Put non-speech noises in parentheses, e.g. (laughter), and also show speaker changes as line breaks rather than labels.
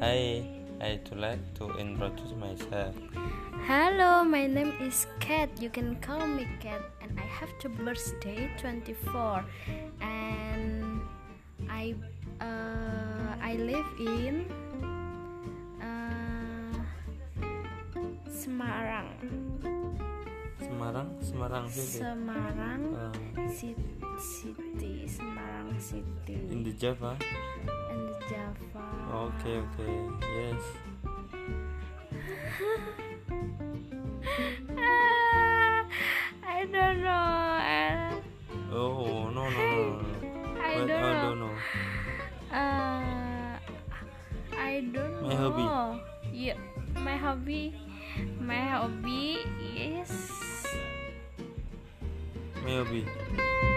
Hi, I'd like to introduce myself.
Hello, my name is Kat. You can call me Kat, and I have to birthday 24, and I uh, I live in uh, Semarang,
Semarang, Semarang City.
Semarang
Uh,
Ci- City, Semarang
in
City,
the Java.
and Java.
Okay, okay. Yes.
(laughs) Ah, I don't know. I-
Oh, no, no, no. no.
I
What?
don't
I
know.
don't know.
Uh, I don't
My
know.
hobby.
Yeah, my hobby. My hobby is
Maybe.